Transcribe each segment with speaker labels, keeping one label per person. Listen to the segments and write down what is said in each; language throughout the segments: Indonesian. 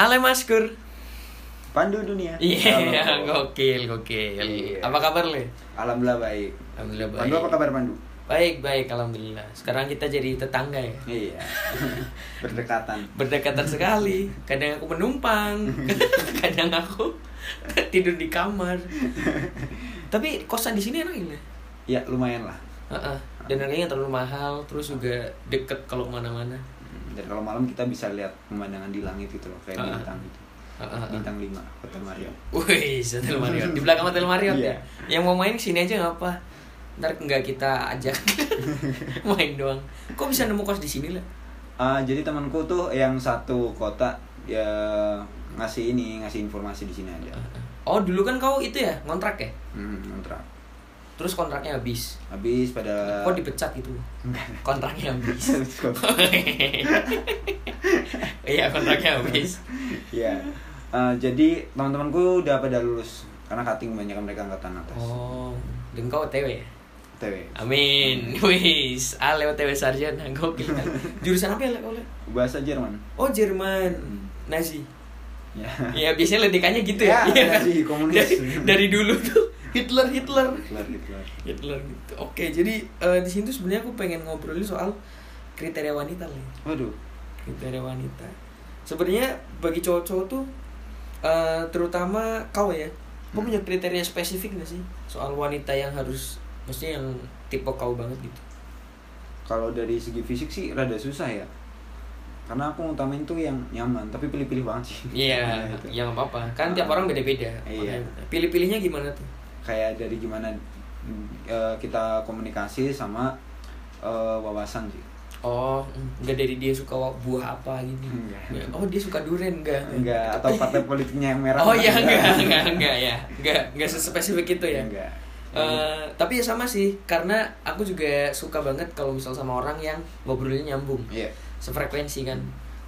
Speaker 1: Ale Maskur.
Speaker 2: Pandu dunia.
Speaker 1: Iya,
Speaker 2: Halo.
Speaker 1: gokil, gokil.
Speaker 2: Iya.
Speaker 1: Apa kabar, Le?
Speaker 2: Alhamdulillah baik.
Speaker 1: Alhamdulillah baik.
Speaker 2: Pandu apa kabar Pandu?
Speaker 1: Baik, baik, alhamdulillah. Sekarang kita jadi tetangga ya.
Speaker 2: Iya. Berdekatan.
Speaker 1: Berdekatan sekali. Kadang aku menumpang, kadang aku tidur di kamar. Tapi kosan di sini enak ya? Le?
Speaker 2: Ya lumayan lah.
Speaker 1: Heeh. Dan harganya nggak terlalu mahal, terus juga deket kalau mana-mana.
Speaker 2: Hmm, Dan kalau malam kita bisa lihat pemandangan di langit gitu loh, kayak
Speaker 1: Ah.
Speaker 2: bintang gitu.
Speaker 1: Heeh.
Speaker 2: Bintang 5 Kota Mario.
Speaker 1: Wih, Hotel Marriott. Di belakang Hotel Marriott
Speaker 2: Iya.
Speaker 1: ya. Yang mau main kesini aja nggak apa. Ntar nggak kita ajak main doang. Kok bisa nemu kos di sini lah?
Speaker 2: Ah, jadi temanku tuh yang satu kota ya ngasih ini, ngasih informasi di sini aja.
Speaker 1: Oh dulu kan kau itu ya kontrak ya?
Speaker 2: Hmm, kontrak.
Speaker 1: Terus kontraknya habis.
Speaker 2: Habis pada
Speaker 1: Kok dipecat gitu? Kontraknya habis. Iya kontraknya habis.
Speaker 2: Iya. Eh, jadi teman-temanku udah pada lulus karena cutting banyak mereka angkatan atas.
Speaker 1: Oh dan kau OTW ya?
Speaker 2: TW.
Speaker 1: Amin. Wis, Ah, ale OTW sarjana gokil. Jurusan apa ya Le, kau Le?
Speaker 2: Bahasa Jerman.
Speaker 1: Oh Jerman. Nah, Nazi.
Speaker 2: Ya.
Speaker 1: Ya biasanya ledekannya gitu ya. Iya
Speaker 2: Ya,
Speaker 1: kan?
Speaker 2: Nazi, komunis.
Speaker 1: Dari, dari dulu tuh Hitler Hitler.
Speaker 2: Hitler, Hitler.
Speaker 1: Hitler gitu. Oke, jadi eh, di sini tuh sebenarnya aku pengen ngobrolin soal kriteria wanita nih.
Speaker 2: Waduh.
Speaker 1: Kriteria wanita. Sebenarnya bagi cowok-cowok tuh eh, terutama kau ya. Kau punya kriteria spesifik gak sih soal wanita yang harus maksudnya yang tipe kau banget gitu.
Speaker 2: Kalau dari segi fisik sih rada susah ya. Karena aku ngutamain tuh yang nyaman, tapi pilih-pilih banget sih.
Speaker 1: Iya,
Speaker 2: Nah, itu.
Speaker 1: ya nggak apa-apa. Kan tiap orang beda-beda.
Speaker 2: Iya.
Speaker 1: Makanya, Pilih-pilihnya gimana tuh?
Speaker 2: Kayak dari gimana mm, eh, kita komunikasi sama eh, wawasan sih.
Speaker 1: Oh, enggak dari dia suka wa- buah apa gitu.
Speaker 2: Enggak.
Speaker 1: Oh, dia suka durian enggak?
Speaker 2: Enggak, Iya. atau partai politiknya yang merah.
Speaker 1: Oh iya enggak, enggak, enggak ya. Enggak, enggak sespesifik itu ya.
Speaker 2: Enggak.
Speaker 1: Eh, tapi ya sama sih, karena aku juga suka banget kalau misal sama orang yang ngobrolnya nyambung,
Speaker 2: Iya,
Speaker 1: sefrekuensi kan.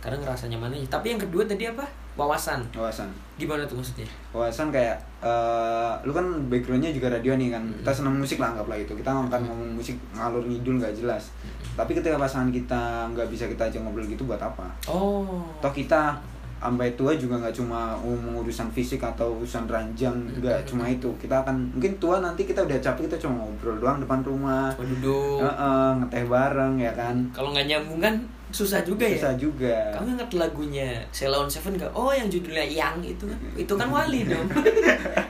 Speaker 1: Karena ngerasa nyaman aja. Tapi yang kedua tadi apa? Wawasan.
Speaker 2: wawasan.
Speaker 1: Gimana tuh maksudnya?
Speaker 2: Wawasan kayak eh, lu kan backgroundnya juga radio nih kan.
Speaker 1: Mm-hmm.
Speaker 2: Kita senang musik lah anggaplah itu. Kita nggak akan ngomong musik ngalur ngidul nggak jelas.
Speaker 1: Mm-hmm.
Speaker 2: Tapi ketika pasangan kita nggak bisa kita aja ngobrol gitu buat apa?
Speaker 1: Oh.
Speaker 2: toh kita sampai tua juga nggak cuma um- urusan fisik atau urusan ranjang
Speaker 1: Iya,
Speaker 2: nggak cuma itu kita akan mungkin tua nanti kita udah capek kita cuma ngobrol doang depan rumah
Speaker 1: Mau duduk.
Speaker 2: Heeh, ngeteh bareng ya kan
Speaker 1: Oh, Kalau nggak nyambung kan susah juga ya.
Speaker 2: susah juga
Speaker 1: Kamu ingat lagunya Sheila on Seven gak? Oh yang judulnya Yang itu kan Itu kan Wali dong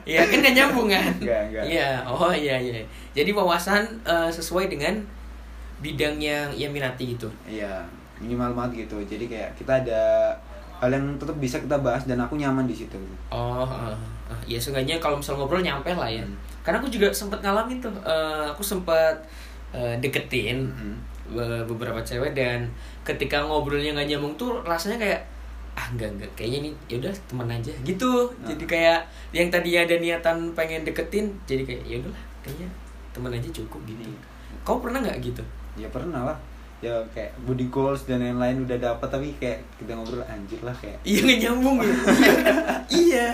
Speaker 1: Iya kan gak nyambung kan?
Speaker 2: Nggak, nggak.
Speaker 1: Iya oh iya iya Jadi wawasan eh, sesuai dengan bidang yang ia minati gitu
Speaker 2: iya minimal banget gitu jadi kayak kita ada hal yang tetap bisa kita bahas dan aku nyaman di situ
Speaker 1: Oh eh, eh, ya seenggaknya kalau misal ngobrol nyampe lah ya
Speaker 2: Hmm.
Speaker 1: Karena aku juga sempat ngalamin tuh Eh, Aku sempat eh, deketin
Speaker 2: Mm-mm.
Speaker 1: be- beberapa cewek dan ketika ngobrolnya nggak nyambung tuh rasanya kayak ah enggak enggak kayaknya ini yaudah teman aja gitu jadi kayak yang tadi ada niatan pengen deketin jadi kayak ya udahlah kayaknya teman aja cukup gini kau pernah nggak gitu
Speaker 2: ya pernah lah ya kayak body goals dan lain-lain udah dapat tapi kayak kita ngobrol anjir lah kayak
Speaker 1: iya nggak nyambung ya Iya kan? iya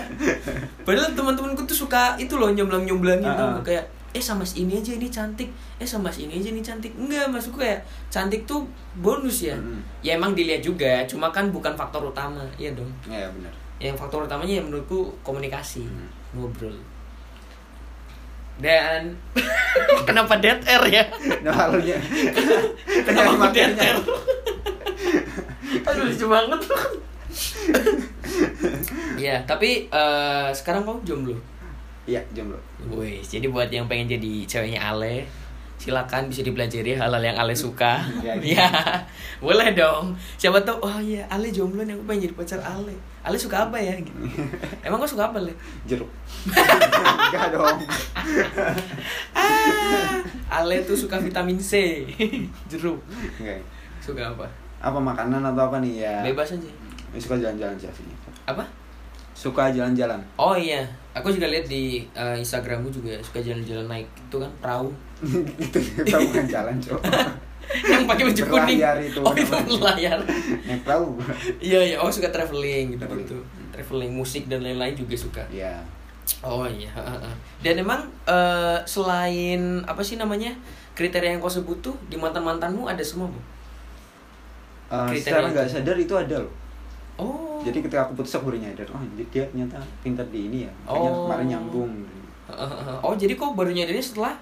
Speaker 1: padahal teman-temanku tuh suka itu loh nyomblang nyomblangin
Speaker 2: Ah,
Speaker 1: tau nggak?
Speaker 2: ah.
Speaker 1: kayak eh sama si ini aja ini cantik eh sama si ini aja ini cantik enggak maksudku kayak cantik tuh bonus ya
Speaker 2: Mm.
Speaker 1: ya emang dilihat juga cuma kan bukan faktor utama iya dong
Speaker 2: ya benar
Speaker 1: yang faktor utamanya ya menurutku komunikasi ngobrol dan kenapa dead air ya
Speaker 2: nah halunya
Speaker 1: kenapa aku dead air aduh lucu banget ya tapi eh, sekarang kamu jomblo
Speaker 2: iya jomblo
Speaker 1: Wih, jadi buat yang pengen jadi ceweknya Ale silakan bisa dipelajari hal-hal yang Ale suka
Speaker 2: Ya, gitu.
Speaker 1: ya boleh dong siapa tahu oh iya Ale jomblo nih aku pengen jadi pacar Ale Ale suka apa ya gitu. emang kau suka apa Le
Speaker 2: jeruk enggak dong
Speaker 1: Ah, Ale tuh suka vitamin C, jeruk.
Speaker 2: enggak
Speaker 1: Suka apa?
Speaker 2: apa makanan atau apa nih ya
Speaker 1: Bebas aja.
Speaker 2: suka jalan-jalan sih aslinya.
Speaker 1: Apa?
Speaker 2: suka jalan-jalan
Speaker 1: Oh iya, aku juga lihat di eh, Instagrammu juga suka jalan-jalan naik itu kan perahu.
Speaker 2: itu kita bukan jalan cok
Speaker 1: Yang pakai baju kuning.
Speaker 2: Berlayar itu
Speaker 1: oh itu
Speaker 2: namanya.
Speaker 1: berlayar.
Speaker 2: naik perahu
Speaker 1: Iya iya, oh suka traveling gitu
Speaker 2: Traveling.
Speaker 1: gitu. Traveling musik dan lain-lain juga suka.
Speaker 2: ya
Speaker 1: Oh iya. heeh. Dan emang eh, selain apa sih namanya kriteria yang kau sebut tuh di mantan mantanmu ada semua bu?
Speaker 2: Eh,
Speaker 1: Kriteria
Speaker 2: secara
Speaker 1: itu.
Speaker 2: nggak sadar itu ada loh
Speaker 1: Oh.
Speaker 2: jadi ketika aku putus aku baru nyadar oh anjir, dia ternyata pintar di ini ya makanya
Speaker 1: Oh.
Speaker 2: kemarin nyambung
Speaker 1: Heeh. oh jadi kok baru nyadarnya setelah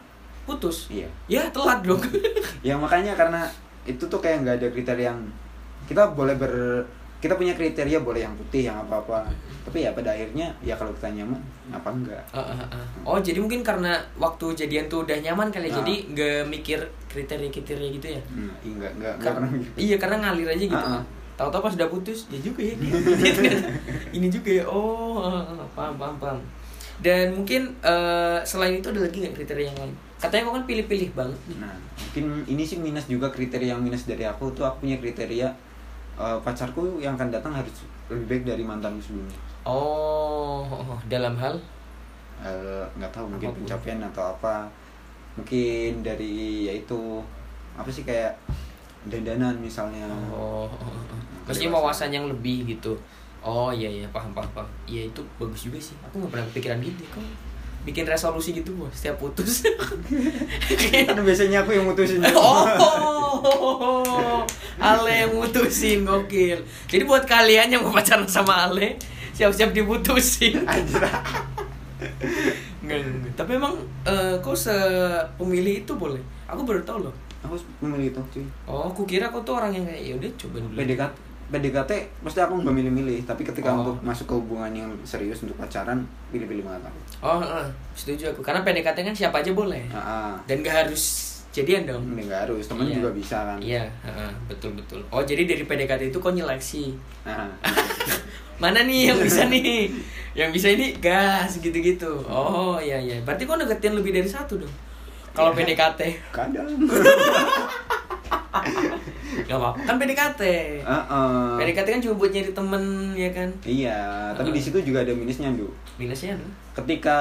Speaker 1: putus?
Speaker 2: iya
Speaker 1: Ya telat dong.
Speaker 2: ya makanya karena itu tuh kayak nggak ada kriteria yang kita boleh ber kita punya kriteria boleh yang putih yang apa apa tapi ya pada akhirnya ya kalau kita nyaman apa enggak
Speaker 1: Heeh, heeh. oh jadi mungkin karena waktu jadian tuh udah nyaman kali ya,
Speaker 2: Nah.
Speaker 1: jadi nggak mikir kriteria kriteria gitu ya?
Speaker 2: Hmm, iya, enggak enggak enggak
Speaker 1: Karena,
Speaker 2: pernah gitu.
Speaker 1: iya karena ngalir aja gitu.
Speaker 2: Ah, ah.
Speaker 1: Tahu-tahu pas udah putus, ya juga ya. Ini, ternyata- ini juga ya. Oh, ah, ah, ah. paham paham paham. Dan mungkin eh, selain itu ada lagi nggak kriteria yang lain? Katanya kau kan pilih-pilih banget nih.
Speaker 2: Nah, mungkin ini sih minus juga kriteria yang minus dari aku tuh aku punya kriteria eh, pacarku yang akan datang harus lebih baik dari mantanku sebelumnya.
Speaker 1: Oh, dalam hal
Speaker 2: Eh, nggak tahu mungkin
Speaker 1: Apapun.
Speaker 2: pencapaian atau apa. Mungkin dari yaitu apa sih kayak dandanan misalnya.
Speaker 1: Oh, maksudnya wawasan yang lebih gitu. Oh iya iya paham paham paham. Iya itu bagus juga sih. Aku nggak pernah kepikiran gitu. Kau bikin resolusi gitu Bu, setiap putus.
Speaker 2: Kan biasanya aku yang mutusin.
Speaker 1: oh, Ale yang mutusin gokil. Jadi buat kalian yang mau pacaran sama Ale, siap-siap diputusin.
Speaker 2: Anjir.
Speaker 1: Enggak, enggak, enggak. Tapi emang eh, kau sepemilih itu boleh. Aku baru tahu loh.
Speaker 2: Aku memilih itu cuy.
Speaker 1: Oh, aku kira kau tuh orang yang kayak yaudah coba dulu.
Speaker 2: PDKT PDKT mesti aku nggak milih-milih tapi ketika
Speaker 1: Oh.
Speaker 2: untuk masuk ke hubungan yang serius untuk pacaran pilih-pilih banget aku.
Speaker 1: Oh, eh, setuju aku. Karena PDKT kan siapa aja boleh.
Speaker 2: Ah, ah.
Speaker 1: Dan gak harus jadian dong.
Speaker 2: Ini nggak harus, temen
Speaker 1: Iya.
Speaker 2: juga bisa kan.
Speaker 1: Iya, heeh, betul betul. Oh, jadi dari PDKT itu kau nyeleksi.
Speaker 2: Nah,
Speaker 1: Mana nih yang bisa nih? Yang bisa ini gas gitu-gitu. Oh, iya iya. Berarti kau deketin lebih dari satu dong. Kalau
Speaker 2: Iya.
Speaker 1: PDKT.
Speaker 2: kadang.
Speaker 1: Gak apa-apa. Kan PDKT.
Speaker 2: Ah. Heeh.
Speaker 1: PDKT kan cuma buat nyari temen ya kan.
Speaker 2: Iya, tapi
Speaker 1: Heeh.
Speaker 2: di situ juga ada minusnya, Du.
Speaker 1: Minusnya apa?
Speaker 2: Ketika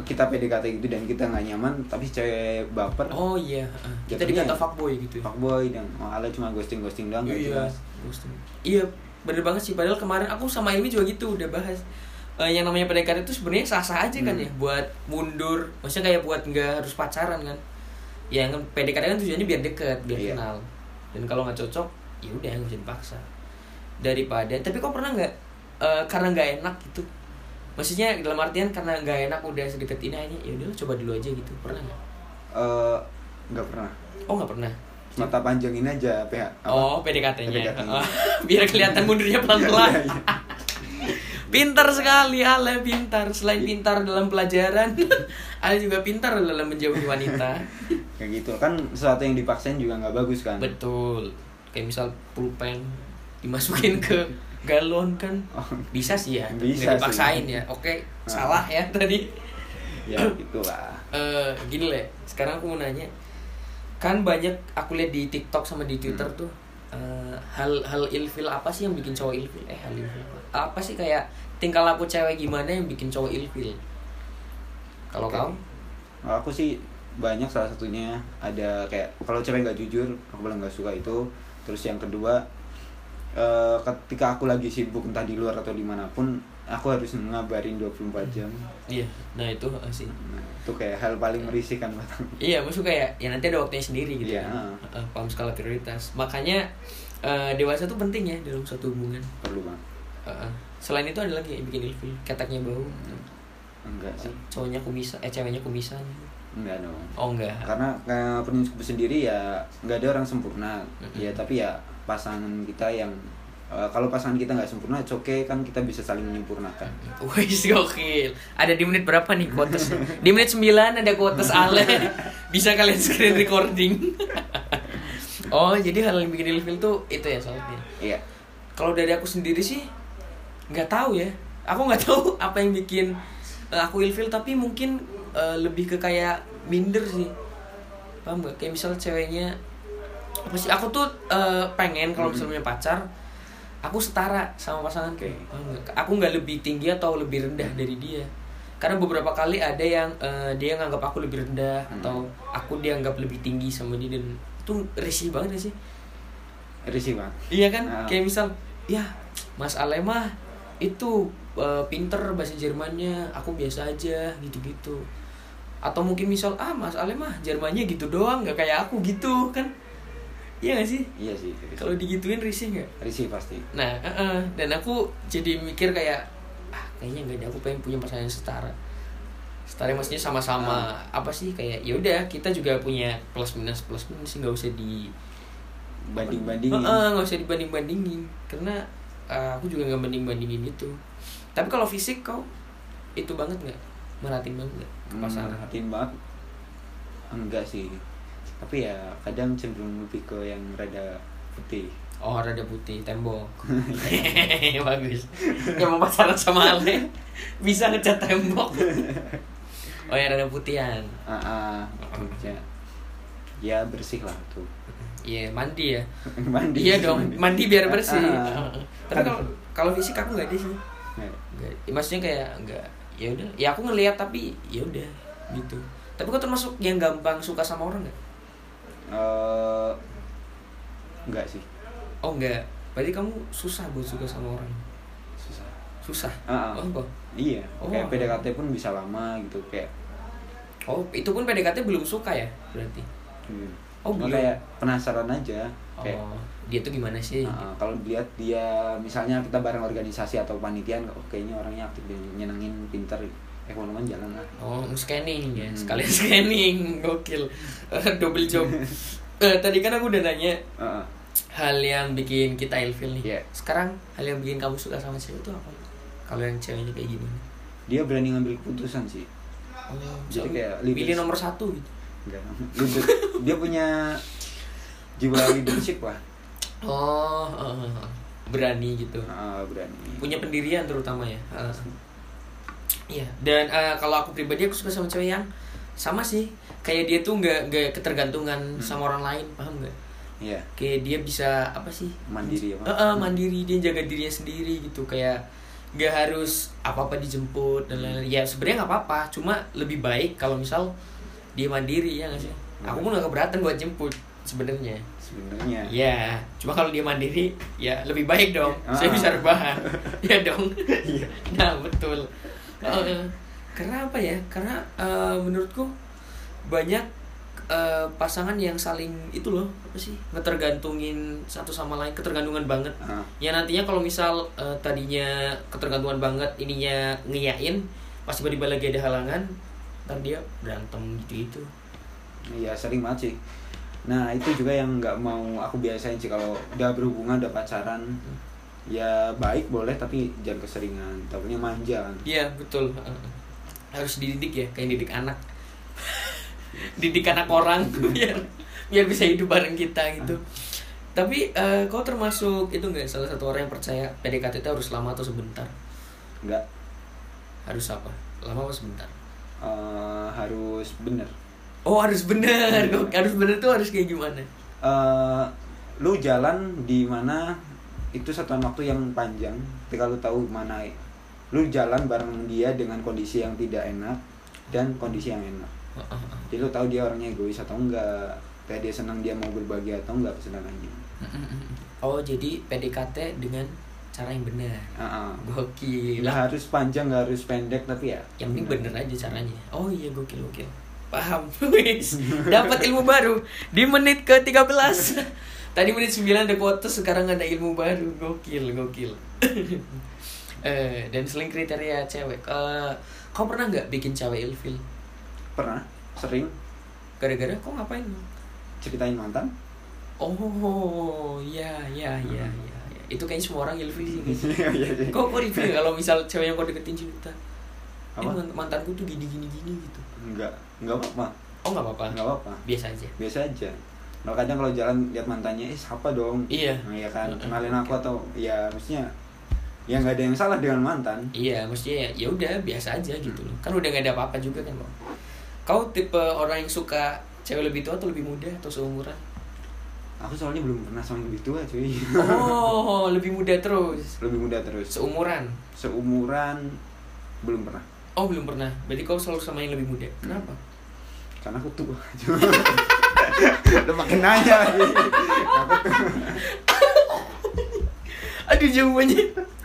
Speaker 2: kita PDKT gitu dan kita nggak nyaman, tapi si cewek baper,
Speaker 1: Oh iya, heeh. kita
Speaker 2: Jatuhnya
Speaker 1: dikata
Speaker 2: ya.
Speaker 1: fuckboy gitu. ya.
Speaker 2: fuckboy dan oh, ala cuma ghosting-ghosting doang nggak
Speaker 1: Iya.
Speaker 2: jelas.
Speaker 1: Ghosting. Iya, bener banget sih. Padahal kemarin aku sama Ilmi juga gitu udah bahas. Eh, yang namanya PDKT itu sebenarnya sah-sah aja kan
Speaker 2: Hmm.
Speaker 1: ya buat mundur. Maksudnya kayak buat nggak harus pacaran kan. Ya kan PDKT kan tujuannya biar deket, biar
Speaker 2: Iya.
Speaker 1: kenal. Dan kalau nggak cocok, ya udah nggak usah dipaksa. Daripada tapi kok pernah nggak eh, karena nggak enak gitu. Maksudnya dalam artian karena nggak enak udah sedekat ini aja, ya udah coba dulu aja gitu. Pernah nggak?
Speaker 2: Eh, nggak pernah.
Speaker 1: Oh nggak pernah.
Speaker 2: Mata panjangin aja PH. apa?
Speaker 1: Oh, PDKT-nya.
Speaker 2: PDKT.
Speaker 1: Biar kelihatan mundurnya pelan-pelan.
Speaker 2: Iya, iya.
Speaker 1: pintar sekali Ale pintar. Selain pintar dalam pelajaran, Ale juga pintar dalam menjauhi wanita.
Speaker 2: Kayak gitu. Kan sesuatu yang dipaksain juga nggak bagus kan.
Speaker 1: Betul. Kayak misal pulpen dimasukin ke galon kan
Speaker 2: Oh.
Speaker 1: bisa sih ya tapi
Speaker 2: Bisa
Speaker 1: nggak dipaksain
Speaker 2: sih.
Speaker 1: ya oke
Speaker 2: Ah.
Speaker 1: salah ya tadi
Speaker 2: ya gitulah.
Speaker 1: Eh, gini le sekarang aku mau nanya kan banyak aku lihat di TikTok sama di Twitter
Speaker 2: Hmm.
Speaker 1: tuh eh, hal-hal ilfil apa sih yang bikin cowok ilfil eh hal ilfil apa sih kayak tingkah laku cewek gimana yang bikin cowok ilfil kalau
Speaker 2: Oke.
Speaker 1: kau
Speaker 2: Kalau aku sih banyak salah satunya ada kayak kalau cewek nggak jujur aku paling nggak suka itu terus yang kedua eh, ketika aku lagi sibuk entah di luar atau dimanapun aku harus ngabarin 24 jam
Speaker 1: iya nah itu eh, sih
Speaker 2: nah, itu kayak hal paling merisik kan buat aku.
Speaker 1: Iya, maksud kayak ya nanti ada waktunya sendiri gitu
Speaker 2: Iya.
Speaker 1: kan. Eh, paham skala prioritas. Makanya eh, dewasa tuh penting ya dalam suatu hubungan.
Speaker 2: perlu banget
Speaker 1: Heeh. Hmm. selain itu ada lagi yang bikin ilfil, ketaknya bau.
Speaker 2: enggak sih
Speaker 1: Cowoknya kumisa, eh ceweknya kumisan.
Speaker 2: enggak dong
Speaker 1: Oh enggak.
Speaker 2: karena eh, prinsipku sendiri ya nggak ada orang sempurna
Speaker 1: Mm-mm.
Speaker 2: ya tapi ya pasangan kita yang eh, kalau pasangan kita nggak sempurna oke kan kita bisa saling menyempurnakan
Speaker 1: Wis gokil. Ada di menit berapa nih quotes? Di menit 9 ada quotes Ale. Bisa kalian screen recording. oh, jadi hal yang bikin ilfil tuh itu ya soalnya.
Speaker 2: iya
Speaker 1: Kalau dari aku sendiri sih nggak tahu ya. Aku nggak tahu apa yang bikin eh, aku ilfil tapi mungkin eh, lebih ke kayak minder sih. Paham gak? Kayak misal ceweknya apa sih? Aku tuh eh, pengen kalau misalnya punya pacar aku setara sama pasangan
Speaker 2: Oke.
Speaker 1: Paham nggak? Aku nggak lebih tinggi atau lebih rendah dari dia. Karena beberapa kali ada yang eh, dia nganggap aku lebih rendah
Speaker 2: Hmm.
Speaker 1: atau aku dianggap lebih tinggi sama dia dan itu risih banget gak sih.
Speaker 2: risih banget
Speaker 1: Iya kan?
Speaker 2: Nah.
Speaker 1: Kayak misal, ya Mas Ale mah itu eh, pinter bahasa Jermannya aku biasa aja gitu-gitu atau mungkin misal ah Mas Ale mah Jermannya gitu doang nggak kayak aku gitu kan iya gak sih
Speaker 2: iya sih
Speaker 1: kalau digituin risih nggak
Speaker 2: risih pasti
Speaker 1: Nah, eh, eh, dan aku jadi mikir kayak ah kayaknya enggak deh aku pengen punya pasangan yang setara. Setara maksudnya sama-sama apa sih kayak ya udah kita juga punya plus minus plus minus sih nggak usah di
Speaker 2: banding bandingin
Speaker 1: Eh, eh, nggak usah dibanding bandingin karena eh, aku juga nggak banding bandingin itu. Tapi kalau fisik kau itu banget nggak merhatiin banget nggak ke pasangan?
Speaker 2: Hmm, merhatiin banget enggak sih tapi ya kadang cenderung lebih ke yang rada putih
Speaker 1: Oh rada putih tembok Bagus Yang mau pacaran sama Ale Bisa ngecat tembok Oh ya rada putihan
Speaker 2: ah, ah, ya, ya bersih lah tuh
Speaker 1: Iya mandi ya
Speaker 2: mandi
Speaker 1: Iya dong mandi biar
Speaker 2: Ah,
Speaker 1: bersih
Speaker 2: ah.
Speaker 1: Tapi kalau kalau fisik aku nggak ada sih
Speaker 2: Nah,
Speaker 1: Nggak. Ya, Maksudnya kayak nggak ya udah ya aku ngelihat tapi ya udah gitu tapi kau termasuk yang gampang suka sama orang nggak
Speaker 2: eh, enggak sih
Speaker 1: oh nggak berarti kamu susah buat suka sama orang
Speaker 2: susah
Speaker 1: susah
Speaker 2: Ah, ah.
Speaker 1: oh kok
Speaker 2: iya
Speaker 1: Oh.
Speaker 2: kayak PDKT pun bisa lama gitu kayak
Speaker 1: oh itu pun PDKT belum suka ya berarti
Speaker 2: hmm.
Speaker 1: Oh,
Speaker 2: Cuma
Speaker 1: belum.
Speaker 2: kayak penasaran aja kayak
Speaker 1: Oh, dia tuh gimana sih?
Speaker 2: Nah, kalau dilihat dia misalnya kita bareng organisasi atau panitian kok kayaknya orangnya aktif dan nyenengin pinter ekonoman jalan lah
Speaker 1: Oh, scanning ya,
Speaker 2: Hmm.
Speaker 1: sekalian scanning, gokil, double job. Eh, tadi kan aku udah nanya
Speaker 2: Heeh.
Speaker 1: hal yang bikin kita ilfil nih.
Speaker 2: Iya.
Speaker 1: Sekarang hal yang bikin kamu suka sama cewek itu apa? Kalau yang ceweknya kayak gimana?
Speaker 2: dia berani ngambil keputusan sih
Speaker 1: Oh,
Speaker 2: Jadi
Speaker 1: so-
Speaker 2: kayak leaders.
Speaker 1: pilih nomor satu gitu.
Speaker 2: Enggak. Leader. dia punya jiwa leadership lah
Speaker 1: Oh, eh, eh, eh. berani gitu.
Speaker 2: Heeh, Eh, berani
Speaker 1: Punya pendirian terutama ya. Eh. Iya. Dan eh, kalau aku pribadi aku suka sama cewek yang sama sih. Kayak dia tuh nggak nggak ketergantungan
Speaker 2: Hmm.
Speaker 1: sama orang lain, paham nggak?
Speaker 2: iya
Speaker 1: kayak dia bisa apa sih
Speaker 2: Mandiri apa?
Speaker 1: Eh, eh, mandiri dia jaga dirinya sendiri gitu kayak nggak harus apa apa dijemput dan lain-lain ya sebenarnya nggak apa-apa cuma lebih baik kalau misal dia mandiri ya nggak sih
Speaker 2: Hmm.
Speaker 1: aku pun nggak keberatan buat jemput sebenarnya
Speaker 2: sebenarnya
Speaker 1: ya cuma kalau dia mandiri ya lebih baik dong
Speaker 2: Ah.
Speaker 1: saya bisa rebahan ya dong nah betul Eh, eh. karena apa ya karena eh, menurutku banyak eh, pasangan yang saling itu loh apa sih ngetergantungin satu sama lain ketergantungan banget
Speaker 2: Heeh.
Speaker 1: ya nantinya kalau misal eh, tadinya ketergantungan banget ininya ngiyain pas tiba-tiba lagi ada halangan ntar dia berantem gitu gitu
Speaker 2: Iya sering banget sih. Nah itu juga yang nggak mau aku biasain sih kalau udah berhubungan udah pacaran ya baik boleh tapi jangan keseringan. Takutnya manja kan.
Speaker 1: Iya betul harus dididik ya kayak didik anak didik anak orang biar biar bisa hidup bareng kita gitu tapi eh, kau termasuk itu nggak salah satu orang yang percaya PDKT itu harus lama atau sebentar
Speaker 2: Nggak
Speaker 1: harus apa lama atau sebentar
Speaker 2: eh, harus bener.
Speaker 1: oh harus bener Kok- harus bener tuh harus kayak gimana
Speaker 2: Eh, lu jalan di mana itu satuan waktu yang panjang. Ketika lu tahu mana lu jalan bareng dia dengan kondisi yang tidak enak dan kondisi yang enak. Jadi lu tahu dia orangnya egois atau enggak. Kayak dia senang dia mau berbagi atau enggak kesenangannya.
Speaker 1: oh jadi PDKT dengan cara yang benar
Speaker 2: Heeh.
Speaker 1: gokil
Speaker 2: nggak harus panjang nggak harus pendek tapi ya
Speaker 1: yang penting bener aja caranya oh iya gokil gokil paham wis dapat ilmu baru di menit ke 13 tadi menit 9 ada quotes sekarang ada ilmu baru gokil gokil eh dan selain kriteria cewek eh, kau pernah nggak bikin cewek ilfil
Speaker 2: pernah sering
Speaker 1: gara-gara kau ngapain
Speaker 2: ceritain mantan
Speaker 1: oh ya ya ya ya ya. itu kayaknya semua orang ilfil sih guys.
Speaker 2: Iya, iya, iya.
Speaker 1: kau kau ilfil kalau misal cewek yang kau deketin cerita "Eh,
Speaker 2: Apa?
Speaker 1: mant- mantanku tuh gini gini gini gitu
Speaker 2: nggak nggak apa apa
Speaker 1: oh nggak apa-apa
Speaker 2: nggak apa, -apa.
Speaker 1: biasa aja
Speaker 2: biasa aja kalau kadang kalau jalan lihat mantannya eh siapa dong
Speaker 1: Iya.
Speaker 2: nah, ya kan kenalin aku atau ya maksudnya ya nggak ada yang salah dengan mantan
Speaker 1: Iya, maksudnya ya- ya udah biasa aja gitu loh. Kan udah nggak ada apa-apa juga kan, Bang. Kau tipe orang yang suka cewek lebih tua atau lebih muda atau seumuran?
Speaker 2: aku soalnya belum pernah sama yang lebih tua cuy
Speaker 1: Oh, lebih muda terus.
Speaker 2: lebih muda terus
Speaker 1: Seumuran.
Speaker 2: seumuran belum pernah
Speaker 1: Oh, belum pernah. Berarti kau selalu sama yang lebih muda. Kenapa?
Speaker 2: karena aku tua cuy lu makin nanya lagi
Speaker 1: Aduh, jawabannya.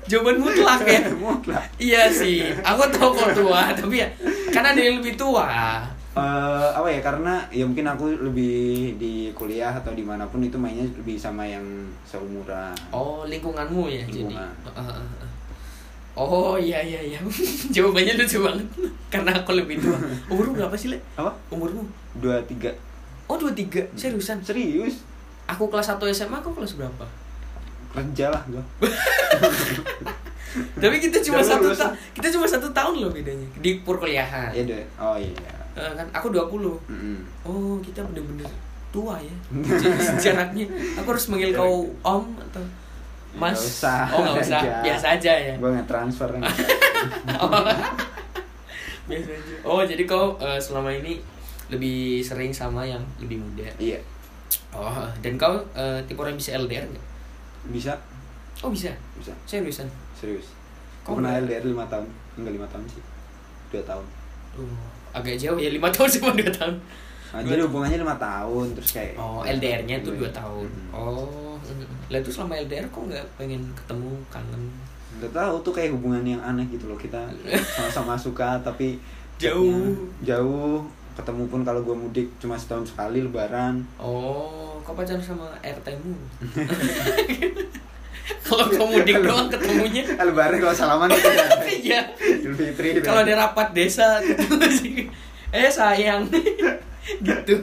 Speaker 1: jawaban mutlak ya
Speaker 2: mutlak
Speaker 1: iya sih aku tahu kau tua tapi ya karena ada yang lebih tua
Speaker 2: Eh, apa ya karena ya mungkin aku lebih di kuliah atau dimanapun itu mainnya lebih sama yang seumuran
Speaker 1: oh lingkunganmu ya jadi
Speaker 2: Lingkungan.
Speaker 1: Heeh, heeh, heeh. oh iya iya iya jawabannya lucu banget karena aku lebih tua umurmu berapa sih le
Speaker 2: apa
Speaker 1: umurmu
Speaker 2: dua tiga
Speaker 1: oh dua tiga
Speaker 2: Hmm.
Speaker 1: seriusan
Speaker 2: serius
Speaker 1: aku kelas 1 SMA aku kelas berapa
Speaker 2: kerja lah gua
Speaker 1: tapi kita cuma
Speaker 2: Jangan
Speaker 1: satu
Speaker 2: lulus.
Speaker 1: ta- kita cuma satu tahun loh bedanya di perkuliahan
Speaker 2: ya deh oh iya
Speaker 1: Eh, kan aku 20
Speaker 2: Mm-mm.
Speaker 1: oh kita bener-bener tua ya
Speaker 2: Iya.
Speaker 1: Jadi jaraknya aku harus manggil kau om atau mas
Speaker 2: Nggak usah,
Speaker 1: oh nggak usah
Speaker 2: aja.
Speaker 1: biasa aja ya
Speaker 2: gua nggak transfer kan
Speaker 1: biasa aja oh jadi kau eh, selama ini lebih sering sama yang lebih muda
Speaker 2: iya
Speaker 1: oh dan kau eh, tipe orang yang bisa LDR nggak
Speaker 2: bisa
Speaker 1: oh bisa
Speaker 2: bisa
Speaker 1: seriusan
Speaker 2: serius
Speaker 1: Kok
Speaker 2: kok pernah
Speaker 1: nggak?
Speaker 2: LDR lima tahun enggak lima tahun sih dua tahun
Speaker 1: Oh, agak jauh ya lima tahun sama dua tahun
Speaker 2: Nah,
Speaker 1: Dua
Speaker 2: jadi
Speaker 1: tahun.
Speaker 2: hubungannya lima tahun terus kayak
Speaker 1: Oh, LDR-nya itu 2 tahun.
Speaker 2: Mm.
Speaker 1: Oh. mm. Lah itu selama LDR kok nggak pengen ketemu kangen?
Speaker 2: Gak tahu tuh kayak hubungan yang aneh gitu loh kita sama-sama suka tapi ya,
Speaker 1: Jauh.
Speaker 2: jauh ketemu pun kalau gue mudik cuma setahun sekali lebaran
Speaker 1: Oh, kau pacaran sama RT-mu. Kalau kau mudik doang ketemunya.
Speaker 2: Eh, lebaran kalau salaman gitu ya
Speaker 1: Iya.
Speaker 2: Idul Fitri gitu ya.
Speaker 1: Kalau ada rapat desa ketemu sih. Eh sayang. gitu.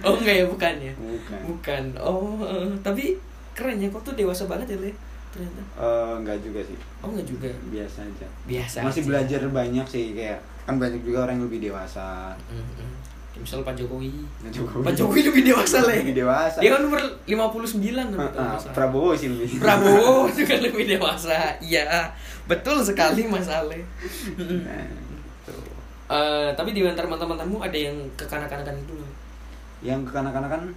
Speaker 1: Oh enggak ya bukan ya.
Speaker 2: bukan
Speaker 1: Bukan. Oh, eh, tapi keren ya kau tuh dewasa banget ya, Le. Ternyata.
Speaker 2: Eh, enggak juga sih
Speaker 1: Oh enggak juga.
Speaker 2: biasa aja
Speaker 1: Biasa.
Speaker 2: masih
Speaker 1: aja.
Speaker 2: belajar banyak sih kayak kan banyak juga orang yang lebih dewasa
Speaker 1: Mm, mm. Kayak Misal Pak Jokowi.
Speaker 2: Pak Jokowi.
Speaker 1: Pak Jokowi lebih dewasa lah.
Speaker 2: Lebih dewasa.
Speaker 1: Dia kan nomor 59
Speaker 2: Eh,
Speaker 1: kan
Speaker 2: eh, Prabowo sih lebih
Speaker 1: Prabowo juga lebih dewasa. Iya, betul sekali Mas Ale. Mm.
Speaker 2: Nah, tuh.
Speaker 1: Eh, tapi di antara teman-temanmu ada yang kekanak-kanakan itu. nggak?
Speaker 2: yang kekanak-kanakan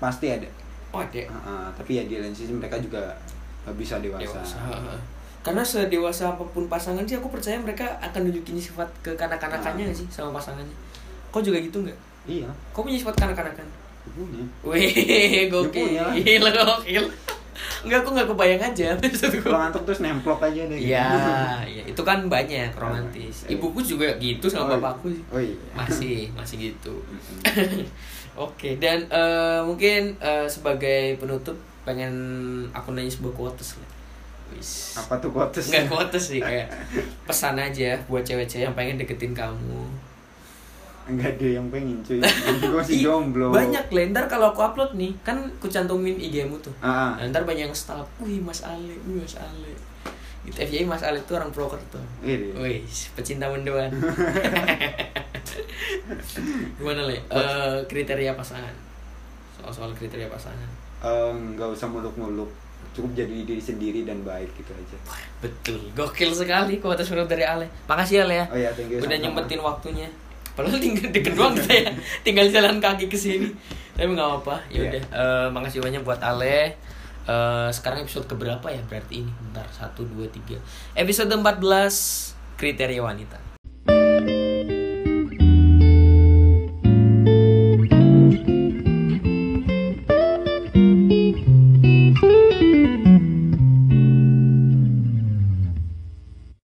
Speaker 2: pasti ada
Speaker 1: Oh, ada.
Speaker 2: Eh, eh, tapi ya di lain sisi mereka juga bisa
Speaker 1: Dewasa. Karena sedewasa apapun pasangan sih aku percaya mereka akan nunjukin sifat
Speaker 2: Ah.
Speaker 1: kekanak-kanakannya nggak sih sama pasangannya. Kau juga gitu nggak?
Speaker 2: Iya,
Speaker 1: Kau punya sifat kanak-kanakan?
Speaker 2: punya.
Speaker 1: Wih, gokil.
Speaker 2: Ya
Speaker 1: Gila, gokil. Enggak, aku nggak kebayang aja. Maksud
Speaker 2: Kalau
Speaker 1: gua.
Speaker 2: ngantuk terus nemplok aja deh. gitu.
Speaker 1: Iya, ya, itu kan banyak romantis. Ibuku juga gitu sama
Speaker 2: Iya. Oh,
Speaker 1: bapakku sih.
Speaker 2: Oh iya.
Speaker 1: Masih, masih gitu. Oke, dan eh, mungkin eh, sebagai penutup pengen aku nanya sebuah quotes lah. Wis.
Speaker 2: Apa tuh quotes?
Speaker 1: Enggak quotes sih kayak pesan aja buat cewek-cewek yang pengen deketin kamu.
Speaker 2: Enggak ada yang pengen cuy. Gue
Speaker 1: Ih,
Speaker 2: masih jomblo.
Speaker 1: Banyak lah, ntar kalau aku upload nih, kan ku cantumin IG-mu tuh.
Speaker 2: Ah, ah.
Speaker 1: Nah, ntar banyak yang stalk, wih Mas Ale, wih Mas Ale. Gitu, FYI Mas Ale tuh orang Prokerto.
Speaker 2: Ini.
Speaker 1: Wih, pecinta mendoan. Gimana le? Eh, kriteria pasangan. Soal-soal kriteria pasangan.
Speaker 2: Eh, Enggak usah muluk-muluk. Cukup jadi diri sendiri dan baik gitu aja.
Speaker 1: Betul, gokil sekali kuota surat dari Ale. Makasih Ale ya.
Speaker 2: Oh iya, thank you.
Speaker 1: Udah
Speaker 2: sama-sama.
Speaker 1: nyempetin waktunya. Padahal tinggal deket doang kita ya. Tinggal jalan kaki ke sini. Tapi nggak apa-apa.
Speaker 2: Iya.
Speaker 1: Ya udah. Eh, makasih banyak buat Ale. Eh, sekarang episode keberapa ya berarti ini? Bentar, 1 2 3. Episode 14 kriteria wanita.